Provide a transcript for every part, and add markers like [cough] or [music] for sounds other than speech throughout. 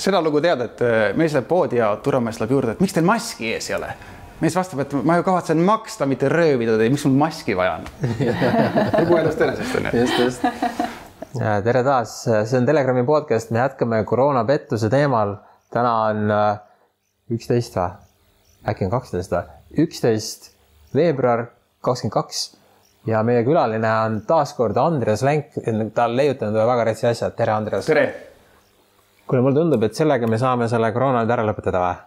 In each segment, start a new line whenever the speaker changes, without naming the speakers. seda lugu tead, et äh, mees läheb poodi ja turvamees läheb juurde, et miks teil maski ees ei ole? mees vastab, et ma ju kavatsen maksta, mitte röövida teid, miks mul maski vaja on lugu elust enesest on ju.
just ,
[laughs]
just .
tere taas , see on Telegrami podcast , me jätkame koroonapettuse teemal . täna on äh, üksteist või , äkki on kaksteist või , üksteist veebruar kakskümmend kaks ja meie külaline on taas kord Andres Lenk , ta on leiutanud ühe väga retsi asja , tere Andres .
tere
kuule , mulle tundub , et sellega me saame selle koroona nüüd ära lõpetada või ?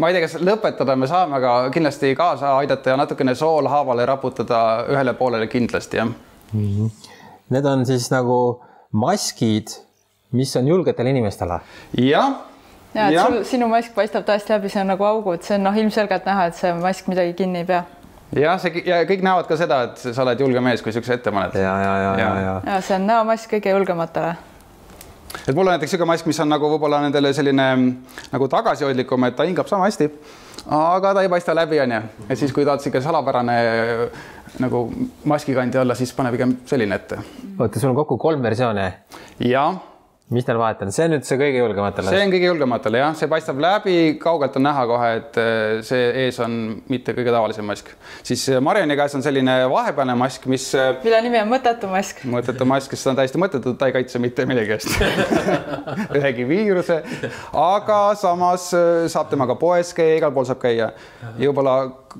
ma ei tea , kas lõpetada me saame , aga kindlasti kaasa aidata ja natukene soolhaavale raputada ühele poolele kindlasti jah .
Need on siis nagu maskid , mis on julgetele inimestele .
jah .
ja et sul , sinu mask paistab tõesti läbi , see on nagu augud , see on noh , ilmselgelt näha , et see mask midagi kinni ei pea .
jah , see ja kõik näevad ka seda , et sa oled julge mees , kui siukse ette paned .
ja , ja , ja , ja
Jaa. ,
ja
ja see on näomask kõige julgematele .
et mul on näiteks niisugune mask , mis on nagu võib-olla nendele selline mm, nagu tagasihoidlikum , et ta hingab sama hästi , aga ta ei paista läbi , onju . et siis , kui tahad sihuke salapärane nagu maskikandja olla , siis pane pigem selline ette .
oota , sul on kokku kolm versiooni ,
ja
mis neil vahet on , see on nüüd see kõige julgematele
see . on kõige julgematele jah , see paistab läbi , kaugelt on näha kohe , et eh, see ees on mitte kõige tavalisem mask , siis eh, Mariani käes on selline vahepealne mask , mis eh,
mille nimi on mõttetu mask .
mõttetu mask , sest ta on täiesti mõttetu , ta ei kaitse mitte millegi eest . ühegi viiruse , aga samas äh, saab temaga poes käia , igal pool saab käia ja võib-olla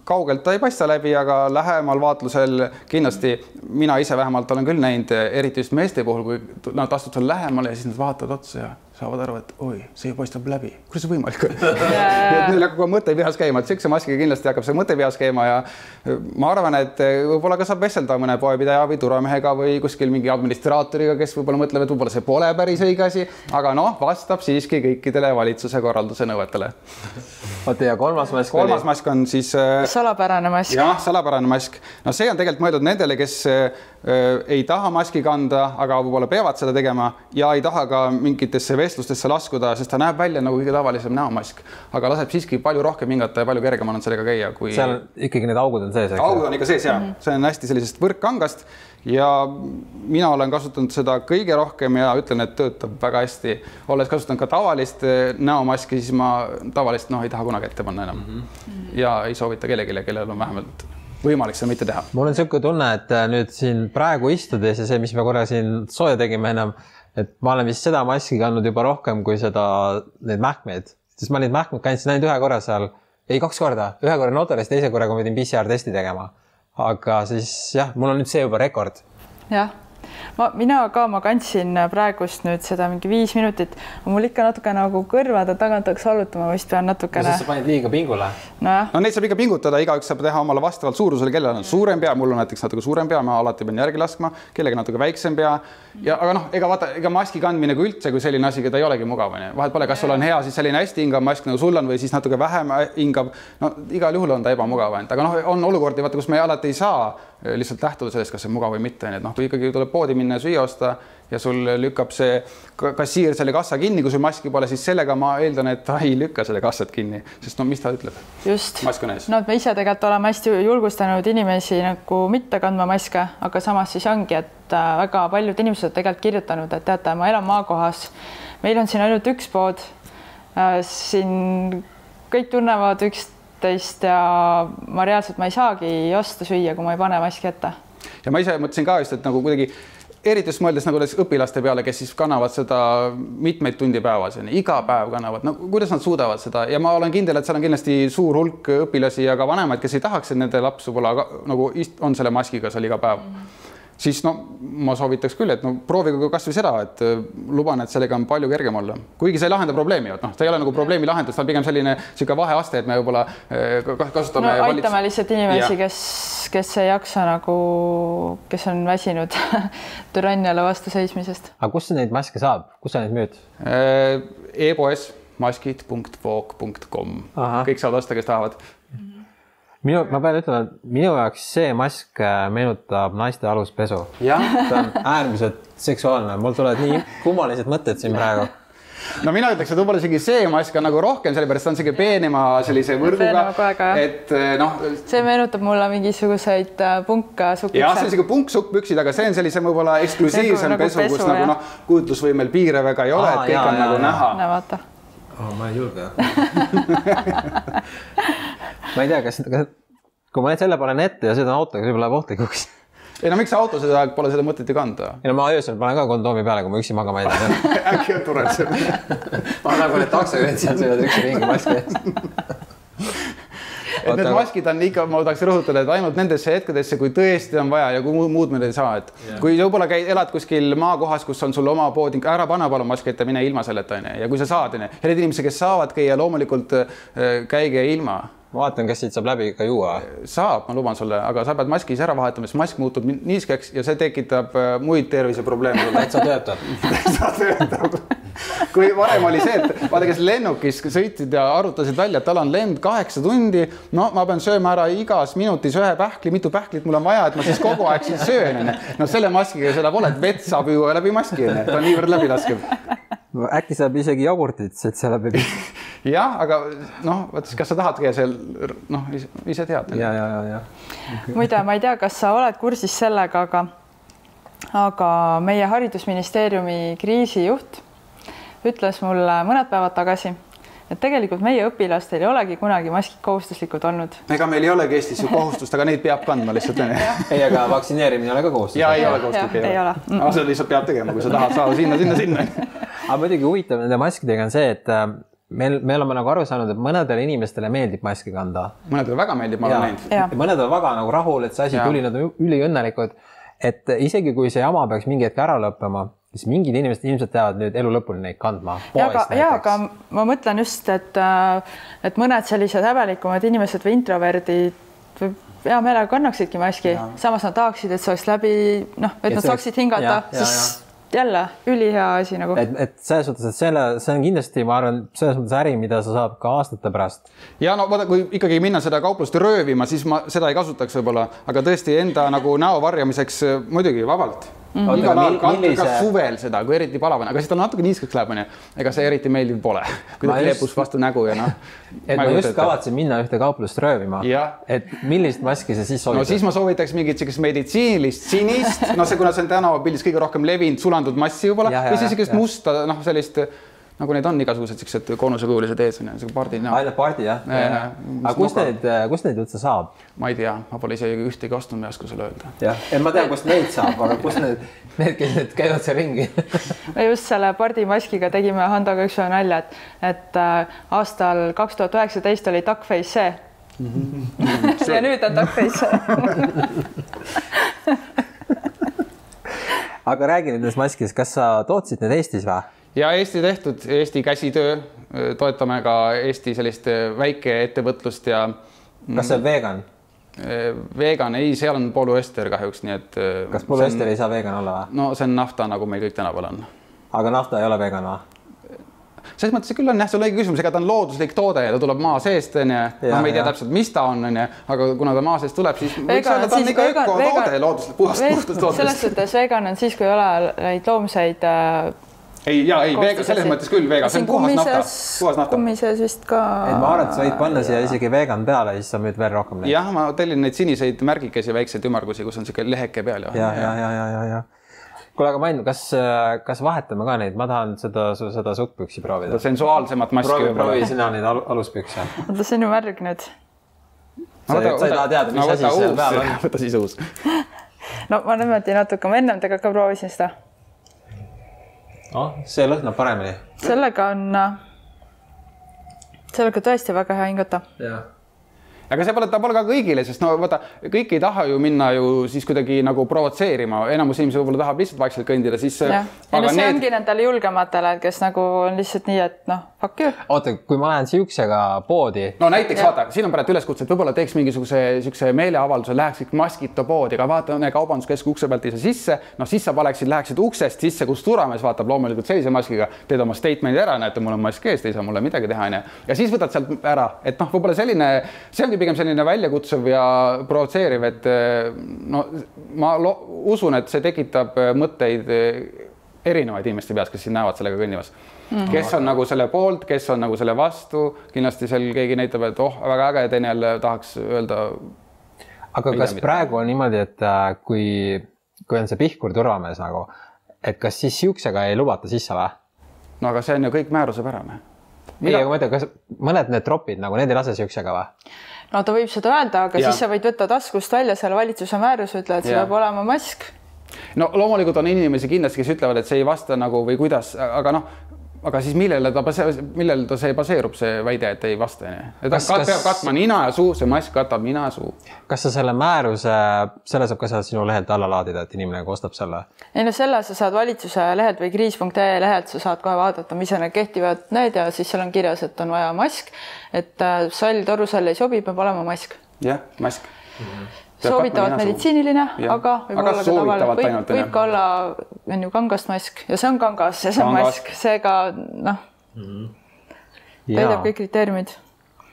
kaugelt ta ei paista läbi , aga lähemal vaatlusel kindlasti mina ise vähemalt olen küll näinud , eriti just meeste puhul , kui t- nad astuvad sulle lähemale ja siis nad vaatavad otsa ja saavad aru , et oi , see paistab läbi , kuidas see võimalik on ? nii [laughs] et neil hakkab kohe mõte peas käima , et siukse maskiga kindlasti hakkab see mõte peas käima ja e, ma arvan , et e, võib-olla ka saab vestelda mõne poepidaja või turvamehega või kuskil mingi administraatoriga , kes võib-olla mõtleb , et võib-olla see pole päris õige asi , aga noh , vastab siiski kõikidele valitsuse korralduse nõuetele .
oota ja kolmas mask oli
kolmas . mask on siis äh,
salapärane mask .
jah , salapärane mask , no see on tegelikult mõeldud nendele , kes öö, ei taha maski kanda , aga võib-olla peavad seda tegema ja ei taha ka mingitesse vestlustesse laskuda , sest ta näeb välja nagu kõige tavalisem näomask , aga laseb siiski palju rohkem hingata ja palju kergem on sellega käia , kui
seal ikkagi need augud on sees , eks
augud . on ikka sees ja see on hästi sellisest võrkkangast ja mina olen kasutanud seda kõige rohkem ja ütlen , et töötab väga hästi . olles kasutanud ka tavalist eh, näomaski , siis ma tavalist noh , ei taha kunagi ette panna enam mm . -hmm. ja ei soovita kellelegi , kellel on vähemalt võimalik seda mitte teha .
mul on niisugune tunne , et äh, nüüd siin praegu istudes ja see , mis me korra siin sooja tegime ennem , et ma olen vist seda maski kandnud juba rohkem kui seda , neid mähkmeid , sest ma neid mähkmeid kandsin ainult ühe korra seal , ei kaks korda , ühe korra notaris , teise korra , kui ma pidin PCR testi tegema . aga siis jah , mul on nüüd see juba rekord .
jah , ma , mina ka , ma kandsin praegust nüüd seda mingi viis minutit , mul ikka natuke nagu kõrvad on tagant hakkas valutama , ma vist pean natukene ,
panid liiga pingule .
nojah ,
no neid saab ikka pingutada , igaüks saab teha omale vastavalt suurusele , kellel on suurem pea , mul on näiteks natuke suurem pea , ma alati pean järgi laskma , kellelgi natuke väiksem pea ja aga noh , ega vaata , ega maski kandmine kui üldse kui selline asi , ta ei olegi mugav onju , vahet pole , kas sul on hea siis selline hästi hingav mask nagu sul on või siis natuke vähem hingab . no igal juhul on ta ebamugav ainult , aga noh , on olukordi , vaata , kus me alati ei saa eh, lihtsalt lähtuda sellest , kas see on mugav või mitte , onju , et noh , kui ikkagi tuleb poodi minna ja süüa osta ja sul lükkab see ka- kassiir selle kassa kinni , kui sul maski pole , siis sellega ma eeldan , et ta ei lükka selle kassat kinni , sest no mis ta ütleb
just .
mask on ees .
no et me ise tegelikult oleme hästi julgustanud inimesi nagu mitte kandma maske , aga samas siis ongi , et äh, väga paljud inimesed on tegelikult kirjutanud , et teate , ma elan maakohas , meil on siin ainult üks pood . siin kõik tunnevad üksteist ja ma reaalselt ma ei saagi osta süüa , kui ma ei pane maski ette .
ja ma ise mõtlesin ka just , et nagu kuidagi eriti just mõeldes nagu näiteks õpilaste peale , kes siis kannavad seda mitmeid tunde päevas , iga päev kannavad , no kuidas nad suudavad seda ja ma olen kindel , et seal on kindlasti suur hulk õpilasi ja ka vanemaid , kes ei tahaks , et nende laps võib-olla ka- nagu ist- on selle maskiga seal iga päev
Mhm.
siis no ma soovitaks küll , et no proovige kasvõi seda , et äh, luban , et sellega on palju kergem olla , kuigi see ei lahenda probleemi , et noh , ta ei ole nagu probleemi lahendus , ta on pigem selline niisugune vaheaste , et me võib-olla äh, ka-
no
kasutame valits-
aitame lihtsalt inimesi
Jah. ,
kes , kes ei jaksa nagu , kes on väsinud [laughs] türanniale vastu seismisest .
aga kust sa neid maske saab , kus sa neid müüd ?
Äh, e-poes maskid.voog.com ,
Ahah.
kõik saavad osta , kes tahavad .
minu , ma pean ütlema , et minu jaoks see mask äh, meenutab naiste aluspesu .
jah ,
[laughs] ta on äärmiselt seksuaalne , mul tulevad nii kummalised mõtted siin praegu .
no mina ütleks, et võib-olla isegi see mask on nagu rohkem, sellepärast ta on sihuke peenema sellise võrguga
Peenema koega, jah. ,
et eh, noh ,
see meenutab mulle mingisuguseid äh, punka
jah , see on
sukitse .
sihuke punksukkpüksid , aga see on sellise võib-olla eksklusiivsem
nagu
pesu, kus
pesu,
nagu
jah.
noh , kujutlusvõimel piire väga ei ole ,
Aa,
et kõik
jaa,
on
jaa,
nagu
jaa.
näha .
näe , vaata .
oh, . ma ei julge . [laughs] ma ei tea , kas , kas , kui ma nüüd selle panen ette ja sõidan autoga , võib-olla läheb ohtlikuks . [laughs]
ei no miks sa autos seda , pole seda mõtet ju kanda ?
ei no ma öösel panen ka kondoomi peale , kui ma üksi magama ei lähe .
äkki on tore see .
[laughs] ma nagu need taksojuhid seal sõidavad üksi ringi maski ees .
et need
Oota,
maskid on ikka , ma tahaks rõhutada , et ainult nendesse hetkedesse , kui tõesti on vaja ja kui muu- muud meil ei saa , et kui sa võib-olla käid , elad kuskil maakohas , kus on sul oma pood , ära pane palun maski ette , mine ilma selleta onju ja kui sa saad onju , ja need inimesed , kes saavad käia , loomulikult äh, käige ilma
ma vaatan , kas siit saab läbi ka juua .
saab , ma luban sulle , aga sa pead maskis ära vahetama , sest mask muutub ni- niiskeks ja see tekitab äh, muid terviseprobleeme sulle .
täitsa töötab .
sa töötad . kui varem oli see , et vaata , kes lennukis sõitsid ja arutasid välja , et tal on lend kaheksa tundi , no ma pean sööma ära igas minutis ühe pähkli , mitu pähklit mul on vaja , et ma siis kogu aeg siin söön , onju . no selle maskiga seda pole , et vett saab juua läbi maski , onju , ta on niivõrd läbilaskev .
äkki saab isegi jogurtit , et see läheb .
jah , aga noh , vot siis kas sa tahad käia seal , noh , ise tead .
ja , ja , ja , ja
muide , ma ei tea , kas sa oled kursis sellega , aga aga meie haridusministeeriumi kriisijuht ütles mulle mõned päevad tagasi , et tegelikult meie õpilastel ei olegi kunagi maskid kohustuslikud olnud .
ega meil ei olegi Eestis ju kohustust , aga neid peab kandma lihtsalt , onju
ei , aga vaktsineerimine ei ole ka kohustus .
ja ei
Jah,
ole kohustuslik ,
jah, ei ole. Mm.
aga seda lihtsalt peab tegema , kui sa tahad saada sinna , sinna , sinna .
aga muidugi huvitav nende maskidega on see , et äh, meil , me oleme nagu aru saanud , et mõnedele inimestele meeldib maski kanda .
mõnedele väga meeldib , ma olen näinud .
Jaa.
mõned on väga nagu rahul , et see asi
Jaa.
tuli , nad on ü- üliõnnelikud . et isegi kui see jama peaks mingi hetk ära lõppema , siis mingid inimesed ilmselt jäävad nüüd elu lõpuni neid kandma .
ja aga , ja aga ma mõtlen just , et äh, et mõned sellised häbelikumad inimesed või introverdid või hea meelega kannaksidki maski , samas nad tahaksid , et see oleks läbi noh ,
Et
et nad
see oleks-
saaksid hingata
jah, , jah,
siis jälle ülihea asi nagu .
et , et selles suhtes , et selle , see on kindlasti , ma arvan , selles mõttes äri , mida sa saad ka aastate pärast .
ja no vaata , kui ikkagi minna seda kauplust röövima , siis ma seda ei kasutaks võib-olla , aga tõesti enda nagu näo varjamiseks äh, muidugi vabalt mm . -hmm.
Oota,
igal
aga
ajal
mil-
kandke ka
millise-
suvel seda , kui eriti palav on , aga siis ta natuke niiskeks läheb , onju . ega see eriti meeldiv pole , [laughs] kui
Ma
ta
just-
kleepus vastu nägu ja noh .
[laughs] et ma just . kavatsen minna ühte kauplust röövima
Jah. .
et millist maski sa siis
no
soovitad
siis ? ma soovitaks mingit sellist meditsiinilist sinist , noh , see , kuna see on tänavapildis kõige rohkem levinud sulandunud massi võib-olla
Jah,
või
jah,
siis sellist
jah.
musta , noh , sellest nagu neid on igasugused siuksed koonusekujulised ees onju , siuke pardid , noh ,
ainult pardi jah
Ja, ja, ja. ?
aga kust
Smoga.
neid , kust neid üldse saab ?
ma ei tea , ma pole isegi ühtegi ostnud , ma ei oska sulle öelda .
jah , et ma tean , kust neid saab , aga kust need , [laughs] need , kes nüüd käivad seal ringi .
me just selle pardimaskiga tegime Handoga ükspäev nalja , et , et äh, aastal kaks tuhat üheksateist oli Duckface see .
Mhm.
[laughs] ja nüüd on Duckface
[laughs]
see .
aga räägi nüüd nendest maskidest , kas sa tootsid need Eestis või ?
ja Eesti tehtud , Eesti käsitöö , toetame ka Eesti sellist äh, väikeettevõtlust ja
kas see on vegan ,
eh, vegan , ei , seal on polüester kahjuks , nii et .
kas polüester ei saa vegan olla või ?
no see on nafta , nagu meil kõik tänaval on .
aga nafta ei ole vegan või ?
selles mõttes et küll on jah , see on õige küsimus , ega ta on looduslik toode ja ta tuleb maa seest onju , no
Jah,
me ei tea
jah.
täpselt , mis ta on onju , aga kuna ta maa seest tuleb , siis võiks öelda , ta on ikka ökotoode looduslik , puhast , puhtast
selles
loodusest .
suhtes vegan on siis , kui ei ole neid loomseid äh,
ei ja ei , selles mõttes küll vegan , see on puhas nafta , puhas nafta .
kummises vist ka .
et ma arvan , et sa võid panna siia isegi vegan peale , siis sa müüd veel rohkem neid .
jah , ma tellin neid siniseid märgikesi , väikseid ümmargusi , kus on siuke leheke peal
ja , ja , ja , ja , ja , ja . kuule , aga Mainu , kas , kas vahetame ka neid , ma tahan seda , seda sukkpüksi proovida .
sensuaalsemat maski
proovi ,
võib-olla .
proovi sina neid al aluspükse .
oota , see on ju märg nüüd .
sa ei sa ei taha teada , mis asi seal peal on ?.
[laughs] võta siis uus .
no ma niimoodi natuke , ma ennem temaga ka proovisin seda .
oh, . see lõhnab paremini .
sellega on , sellega tõesti väga hea hingata .
jah
aga see pole , ta pole ka kõigile , sest no vaata , kõik ei taha ju minna ju siis kuidagi nagu provotseerima , enamus inimesi võib-olla tahab lihtsalt vaikselt kõndida , siis .
jah , ja no see need... ongi nendele julgematele , kes nagu on lihtsalt nii , et noh , fuck you .
oota , kui ma lähen siuksega poodi ,
no näiteks vaata , siin on praegu üleskutse , et võib-olla teeks mingisuguse niisuguse meeleavalduse , läheks kõik maskita poodi , aga vaata , kaubanduskeskuse ukse pealt ei saa sisse , noh siis sa paneksid , läheksid uksest sisse , kus turvamees vaatab loomulikult sellise maskiga , teed oma statement'i ära , näete , mul on mask ees , te ei saa mulle midagi teha , onju . ja siis võtad sealt ära , et noh , võib-olla selline , see ongi pigem selline väljakutsuv ja provotseeriv , et eh, no ma lo- usun , et see tekitab eh, mõtteid eh, erinevaid inimeste peas, kes sind näevad sellega kõndimas mm. -hmm. kes on nagu selle poolt, kes on nagu selle vastu, kindlasti seal keegi näitab, et oh, väga äge, teine jälle tahaks öelda.
aga
Ei
kas
tea, mida-
praegu on niimoodi , et äh, kui , kui on see Pihkur turvamees nagu , et kas siis siuksega ei lubata sisse või ?
no aga see on ju kõik määrusepärane .
ei , aga nagu ma ütlen , kas mõned need tropid nagu need ei lase siuksega või ?
no ta võib seda öelda , aga
Jaa.
ja. siis sa võid võtta taskust välja selle valitsuse määruse , ütle , et see
Jaa.
peab olema mask .
no loomulikult on inimesi kindlasti , kes ütlevad , et see ei vasta nagu või kuidas , aga noh , aga siis millele ta base- , millel ta see baseerub , see väide , et ei vasta , onju . ta
Kas-
kas,
kas-
peab katma nina ja suu , see mask katab nina ja suu .
kas sa selle määruse , selle saab ka sealt sinu lehelt alla laadida , et inimene nagu ostab selle ?
ei no selle sa saad valitsuse lehelt või kriis.ee lehelt , sa saad kohe vaadata , mis on need kehtivad need ja siis seal on kirjas , et on vaja mask , et äh, sall torusall ei sobi , peab olema mask .
jah , mask . Peab
soovitavalt
katma nina suu.
meditsiiniline ,
Jah.
aga võib
Aga
olla ka tavaline ,
soovitavalt
võib,
ainult,
võib
onju.
ka olla , on ju kangasmask ja see on kangas ja see on
Kangas.
mask , seega noh , täidab kõik kriteeriumid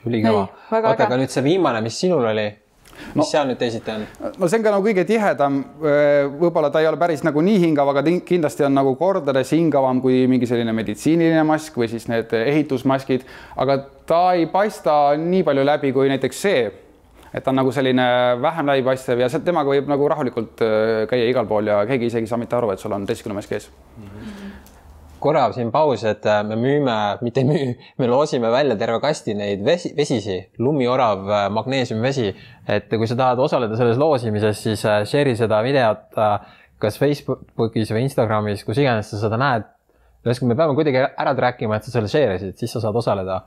ülikõva
Ei, . väga
oota ,
äge.
aga nüüd see viimane , mis sinul oli , mis
No-
no. seal nüüd teisiti on ?
no see on ka nagu kõige tihedam , võib-olla ta ei ole päris nagu nii hingav , aga ti- kindlasti on nagu kordades hingavam kui mingi selline meditsiiniline mask või siis need ehitusmaskid , aga ta ei paista nii palju läbi kui näiteks see , et ta on nagu selline vähem läbipaistev ja se- temaga võib nagu rahulikult öö, käia igal pool ja keegi isegi ei saa mitte aru , et sul on teistkümne mask ees .
korra siin paus , et äh, me müüme , mitte ei müü , me loosime välja terve kasti neid vesi , vesisi , lumiorav , magneesiumvesi , et kui sa tahad osaleda selles loosimises , siis äh, share'i seda videot äh, kas Facebookis või Instagramis , kus iganes sa seda näed . ühesõnaga , me peame kuidagi ära trackima , et sa selle share isid , siis sa saad osaleda .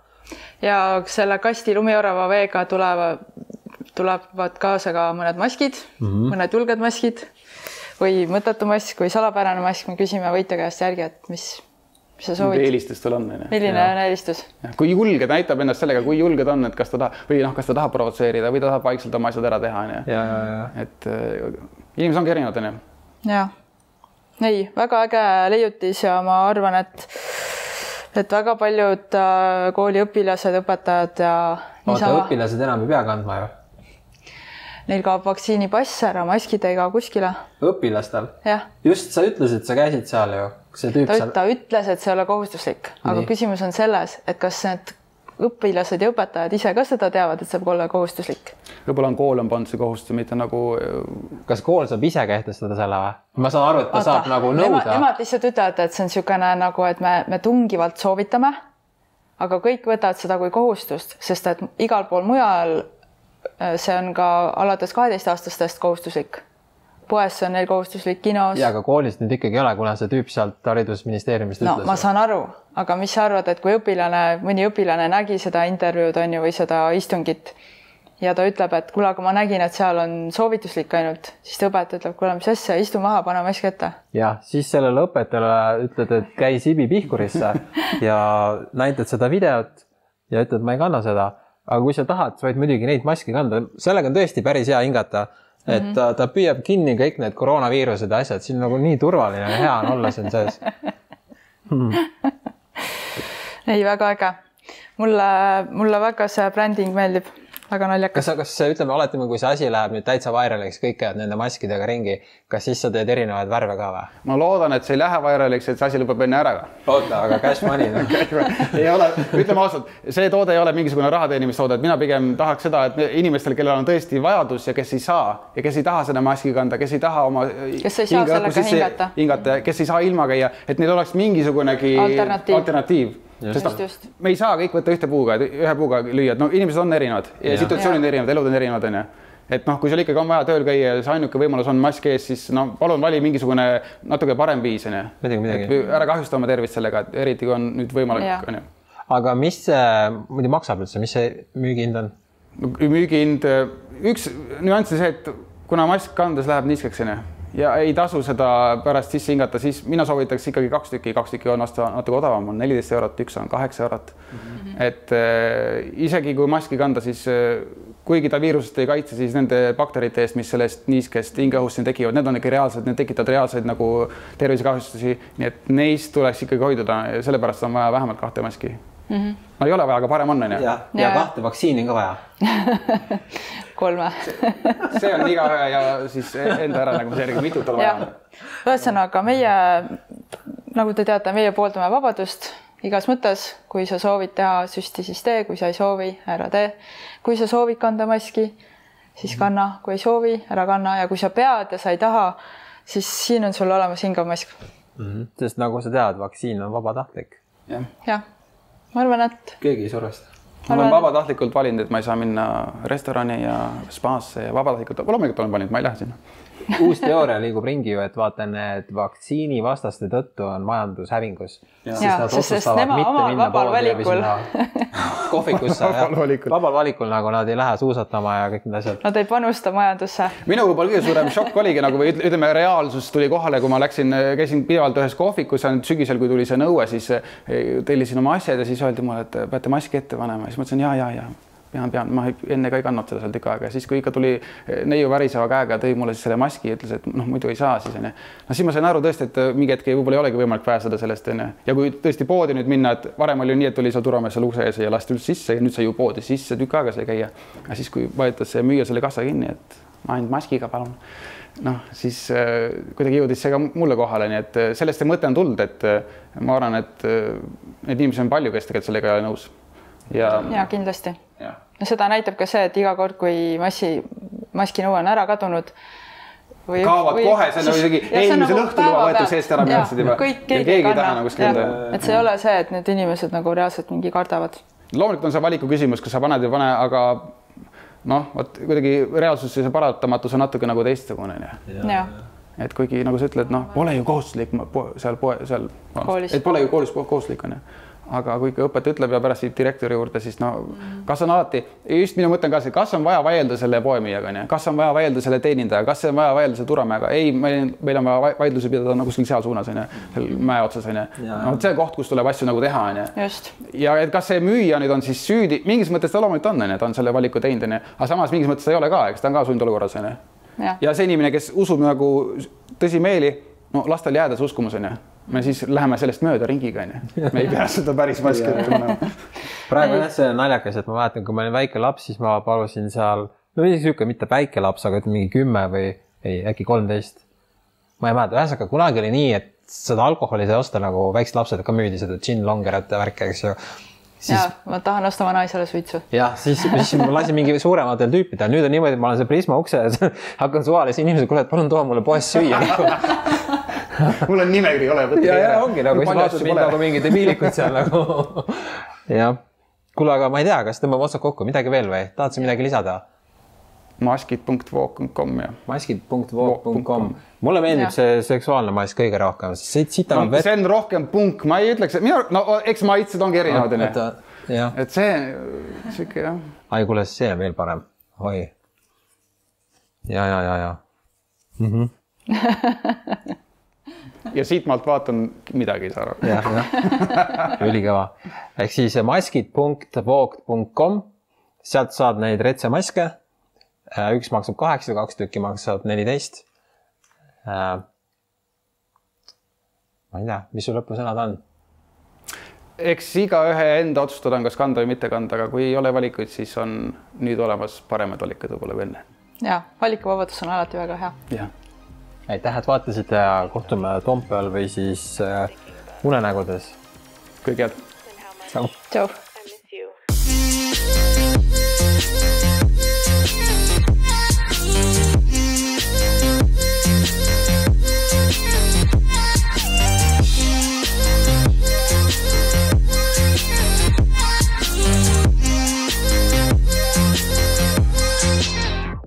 ja selle kasti lumiorava veega tulevad , tulevad kaasa ka mõned maskid mm , -hmm. mõned julged maskid või mõttetu mask või salapärane mask . me küsime võitja käest järgi , et mis , mis sa soovid ,
eelistustel on onju .
milline
Jaa.
on eelistus .
kui julge , ta näitab ennast sellega , kui julge ta on , et kas ta tahab või noh , kas ta tahab provotseerida või ta tahab vaikselt oma asjad ära teha onju .
ja , ja , ja
et öö, inimesed ongi erinevad onju
ja ei , väga äge leiutis ja ma arvan , et et väga paljud äh, kooliõpilased , õpetajad ja
oota ,
niisama ,
õpilased enam ei pea kandma ju .
neil kaob vaktsiinipass ära , maskid ei kao kuskile ,
õpilastel ,
jah
just sa ütlesid , sa käisid seal ju , see tüüp
ta,
seal .
ta ütles , et see ei ole kohustuslik , aga
Nii.
küsimus on selles , et kas need õpilased ja õpetajad ise ka seda teavad , et see võib olla kohustuslik .
võib-olla on kool on pannud see kohustuse , mitte nagu
kas kool saab ise kehtestada selle või ? ma saan aru , et ta Ata, saab nagu
nemad,
nõuda .
nemad lihtsalt ütlevad , et see on niisugune nagu , et me , me tungivalt soovitame , aga kõik võtavad seda kui kohustust , sest et igal pool mujal äh, see on ka alates kaheteistaastastest kohustuslik . poes see on neil kohustuslik , kinos .
ja aga koolis nüüd ikkagi ei ole , kuna see tüüp sealt haridusministeeriumist
no
ütles .
ma saan aru , aga mis sa arvad , et kui õpilane , mõni õpilane nägi seda intervjuud on ju või seda istungit ja ta ütleb , et kuule , aga ma nägin , et seal on soovituslik ainult , siis ta õpetaja ütleb , kuule , mis asja , istu maha , pane mask ette .
jah , siis sellele õpetajale ütled , et käi Sibi
[laughs]
Pihkurisse ja näitad seda videot ja ütled , ma ei kanna seda . aga kui sa tahad , sa võid muidugi neid maske kanda , sellega on tõesti päris hea hingata , et
Mhm.
mm -hmm. ta, ta püüab kinni kõik need koroonaviirused ja asjad , siin nagu nii turvaline ja hea on olla siin
[laughs]
sees .
ei , väga äge . mulle , mulle väga see bränding meeldib , väga naljakas .
kas sa , kas ütleme , oletame , kui see asi läheb nüüd täitsa vairaliks , kõik käivad nende maskidega ringi , kas siis sa teed erinevaid värve ka või ?
ma loodan , et see ei lähe vairaliks , et see asi lõpeb enne ära .
oota , aga cash money noh . [laughs]
[laughs] ei ole , ütleme ausalt , see toode ei ole mingisugune raha teenimistoode , et mina pigem tahaks seda , et inimestel , kellel on tõesti vajadus ja kes ei saa ja kes ei taha seda maski kanda , kes ei taha oma .
Kes ei saa sellega hingata.
hingata ja kes ei saa ilma käia , et neil oleks mingisugunegi
Alternatiiv.
alternatiiv. sest
Just,
noh,
just.
me ei saa kõik võtta ühte puuga , ühe puuga lüüa , et no inimesed on erinevad ja, ja.
Jah.
situatsioonid on erinevad , elud on erinevad , onju et noh , kui sul ikkagi on vaja tööl käia ja see ainuke võimalus on mask ees , siis no palun vali mingisugune natuke parem viis onju .
Muidugi, muidugi.
Et ära kahjusta oma tervist sellega , et eriti kui on nüüd
Jah.
võimalik onju .
aga mis see muidu maksab üldse , mis see müügihind on ?
müügihind , üks nüanss on see , et kuna mask kandes läheb niiskeks onju ja ei tasu seda pärast sisse hingata , siis mina soovitaks ikkagi kaks tükki , kaks tükki on osta natuke odavam , on neliteist eurot , üks on kaheksa eurot mm . -hmm. et äh, isegi kui maski kanda , siis äh, kuigi ta viirusest ei kaitse , siis nende bakterite eest , mis sellest niiskest hingeõhust siin tekivad , need on ikka reaalsed , need tekitavad reaalseid nagu tervisekahjustusi , nii et neist tuleks ikkagi hoiduda , sellepärast on vaja vähemalt kahte maski mm . -hmm. no ei ole vaja , aga parem on onju .
ja, ja
Jaa.
kahte vaktsiini on ka vaja .
kolme .
see on e-, igaühe ja siis enda ära nagu see , mitut on
jah
vaja .,
ühesõnaga meie nagu te teate, meie pooldame vabadust igas mõttes, kui sa soovid teha süsti, siis tee, kui sa ei soovi, ära tee. kui sa soovid kanda maski, siis kanna, kui ei soovi, ära kanna ja kui sa pead ja sa ei taha, siis siin on sul olemas hingav mask.
sest nagu sa tead, vaktsiin on vabatahtlik .
jah ,
jah, ma arvan , et
keegi ei survesta .
ma olen
Arvan-
vabatahtlikult valinud , et ma ei saa minna restorani ja spaasse ja vabatahtlikult , loomulikult olen valinud , ma ei lähe sinna .
[laughs] uus teooria liigub ringi ju , et vaata , need vaktsiinivastaste tõttu on majandus hävingus .
Jaa, sest- sest nema omal vabal valikul. [laughs]
kohvikusse ,
Vabal valikul.
vabal valikul nagu nad ei lähe suusatama ja kõik need asjad .
nad ei panusta majandusse .
minu võib-olla kõige suurem šokk oligi nagu või üt- ütleme , reaalsus tuli kohale , kui ma läksin , käisin pidevalt ühes kohvikus , nüüd sügisel , kui tuli see nõue , siis eh, tellisin oma asjad ja siis öeldi mulle , et peate maski ette panema , siis mõtlesin ja , ja , ja pean , pean , ma ei- enne ka ei kandnud seda seal tükk aega , siis kui ikka tuli eh, neiu väriseva käega , tõi mulle siis selle maski ja ütles , et noh , muidu ei saa siis onju . no siis ma sain aru tõesti , et eh, mingi hetk ei- võib-olla ei olegi võimalik pääseda sellest onju ja kui tõesti poodi nüüd minna , et varem oli ju nii , et oli seal turvamees seal ukse ees ja lasti üldse sisse ja nüüd sai ju poodi sisse tükk aega sai käia . aga siis , kui vajutas see müüja selle kassa kinni , et ainult maskiga , palun . noh , siis äh, kuidagi jõudis see ka mulle kohale , nii et äh, sellest see mõte on tulnud , et äh, ma arvan , et äh, neid inimesi on palju , kes tegelikult sellega ei ole nõus . ja,
ja kindlasti
ja. .
no seda näitab ka see , et iga kord , kui massi , maskinõue on ära kadunud .
Kaovad kohe, see on nagu isegi eelmisel
nagu
õhtul juba võetakse eest ära, peatsid juba.
kõik ,
Ja
keegi ei kanna nagu . et see ei ole see , et need inimesed nagu reaalselt mingi kardavad .
loomulikult on see valiku küsimus , kas sa paned või ei pane , aga noh , vot kuidagi reaalsus ja see paratamatus on natuke nagu teistsugune onju
jah ,
et kuigi nagu sa ütled , noh , pole ju kohustuslik ma- po seal poe seal ,
Koolis.
et pole ju koolis po- kohustuslik onju , aga kui ikka õpetaja ütleb ja pärast viib direktori juurde , siis no kas on alati , just minu mõte on ka see , kas on vaja vaielda selle poemüüjaga onju , kas on vaja vaielda selle teenindajaga , kas on vaja vaielda selle turvamäega , ei , meil , meil on vaja vai- vaidlusi pidada nagu kuskil seal suunas onju , seal mäe otsas onju ,
Mm. Jaa.
no vot see on koht , kus tuleb asju nagu teha onju
just ,
ja et kas see müüja nüüd on siis süüdi , mingis mõttes ta loomulikult on onju , ta on selle valiku teinud onju , aga samas mingis mõttes ta ei ole ka , eks ta on ka sundolukorras onju
jah ,
ja see inimene , kes usub nagu tõsimeeli , no las tal jääda see uskumus onju , me siis läheme sellest mööda ringiga onju , me ei
[laughs]
pea seda päris maski noh. ette panema .
praegu on jah see naljakas , et ma mäletan , kui ma olin väike laps , siis ma palusin seal , no isegi niisugune mitte väike laps , aga ütleme mingi kümme või ei , äkki kolmteist . ma ei mäleta , ühesõnaga kunagi oli nii , et seda alkoholi sai osta nagu väiksed lapsed ka müüdi seda gin longerate värki , eks ju . siis
ja ma tahan osta vanaisale suitsu .
jah , siis , siis ma lasin mingi suurematel tüüpidel , nüüd on niimoodi , et ma olen seal Prisma ukse ees , [laughs] hakkan suvalise inimesega , kuule , et palun too mulle poest [laughs] süüa .
mul on nimekiri ole .
ja , ja ongi nagu , siis vaatad mind nagu . mingid emiilikud seal nagu . [laughs] jah , kuule , aga ma ei tea , kas tõmbame otsad kokku , midagi veel või tahad sa midagi lisada ?
maskid.voog.com ja .
maskid.voog.com , mulle meeldib
Jah.
see seksuaalne mask kõige rohkem , sest siit on vett .
see on rohkem punk , ma ei ütleks , minu , no eks maitsed ongi erinevad
Ah,
onju .
jah ,
et see sihuke jah ,
ai kuule , see on veel parem , oi . ja , ja , ja , ja
ja siitmaalt vaatan , midagi ei saa aru .
jah , jah , [laughs] ülikõva . ehk siis maskid.voog.com , sealt saad neid retsemaske . üks maksab kaheksa , kaks tükki maksab neliteist . ma ei tea , mis su lõpusõnad on ?
eks igaühe enda otsustada on , kas kanda või mitte kanda , aga kui ei ole valikuid , siis on nüüd olemas paremad valikud võib-olla kui enne .
ja valikuvabadus on alati väga hea .
jah
aitäh , et vaatasite ja kohtume Toompeal või siis äh, unenägudes .
kõike head .
tšau .
tšau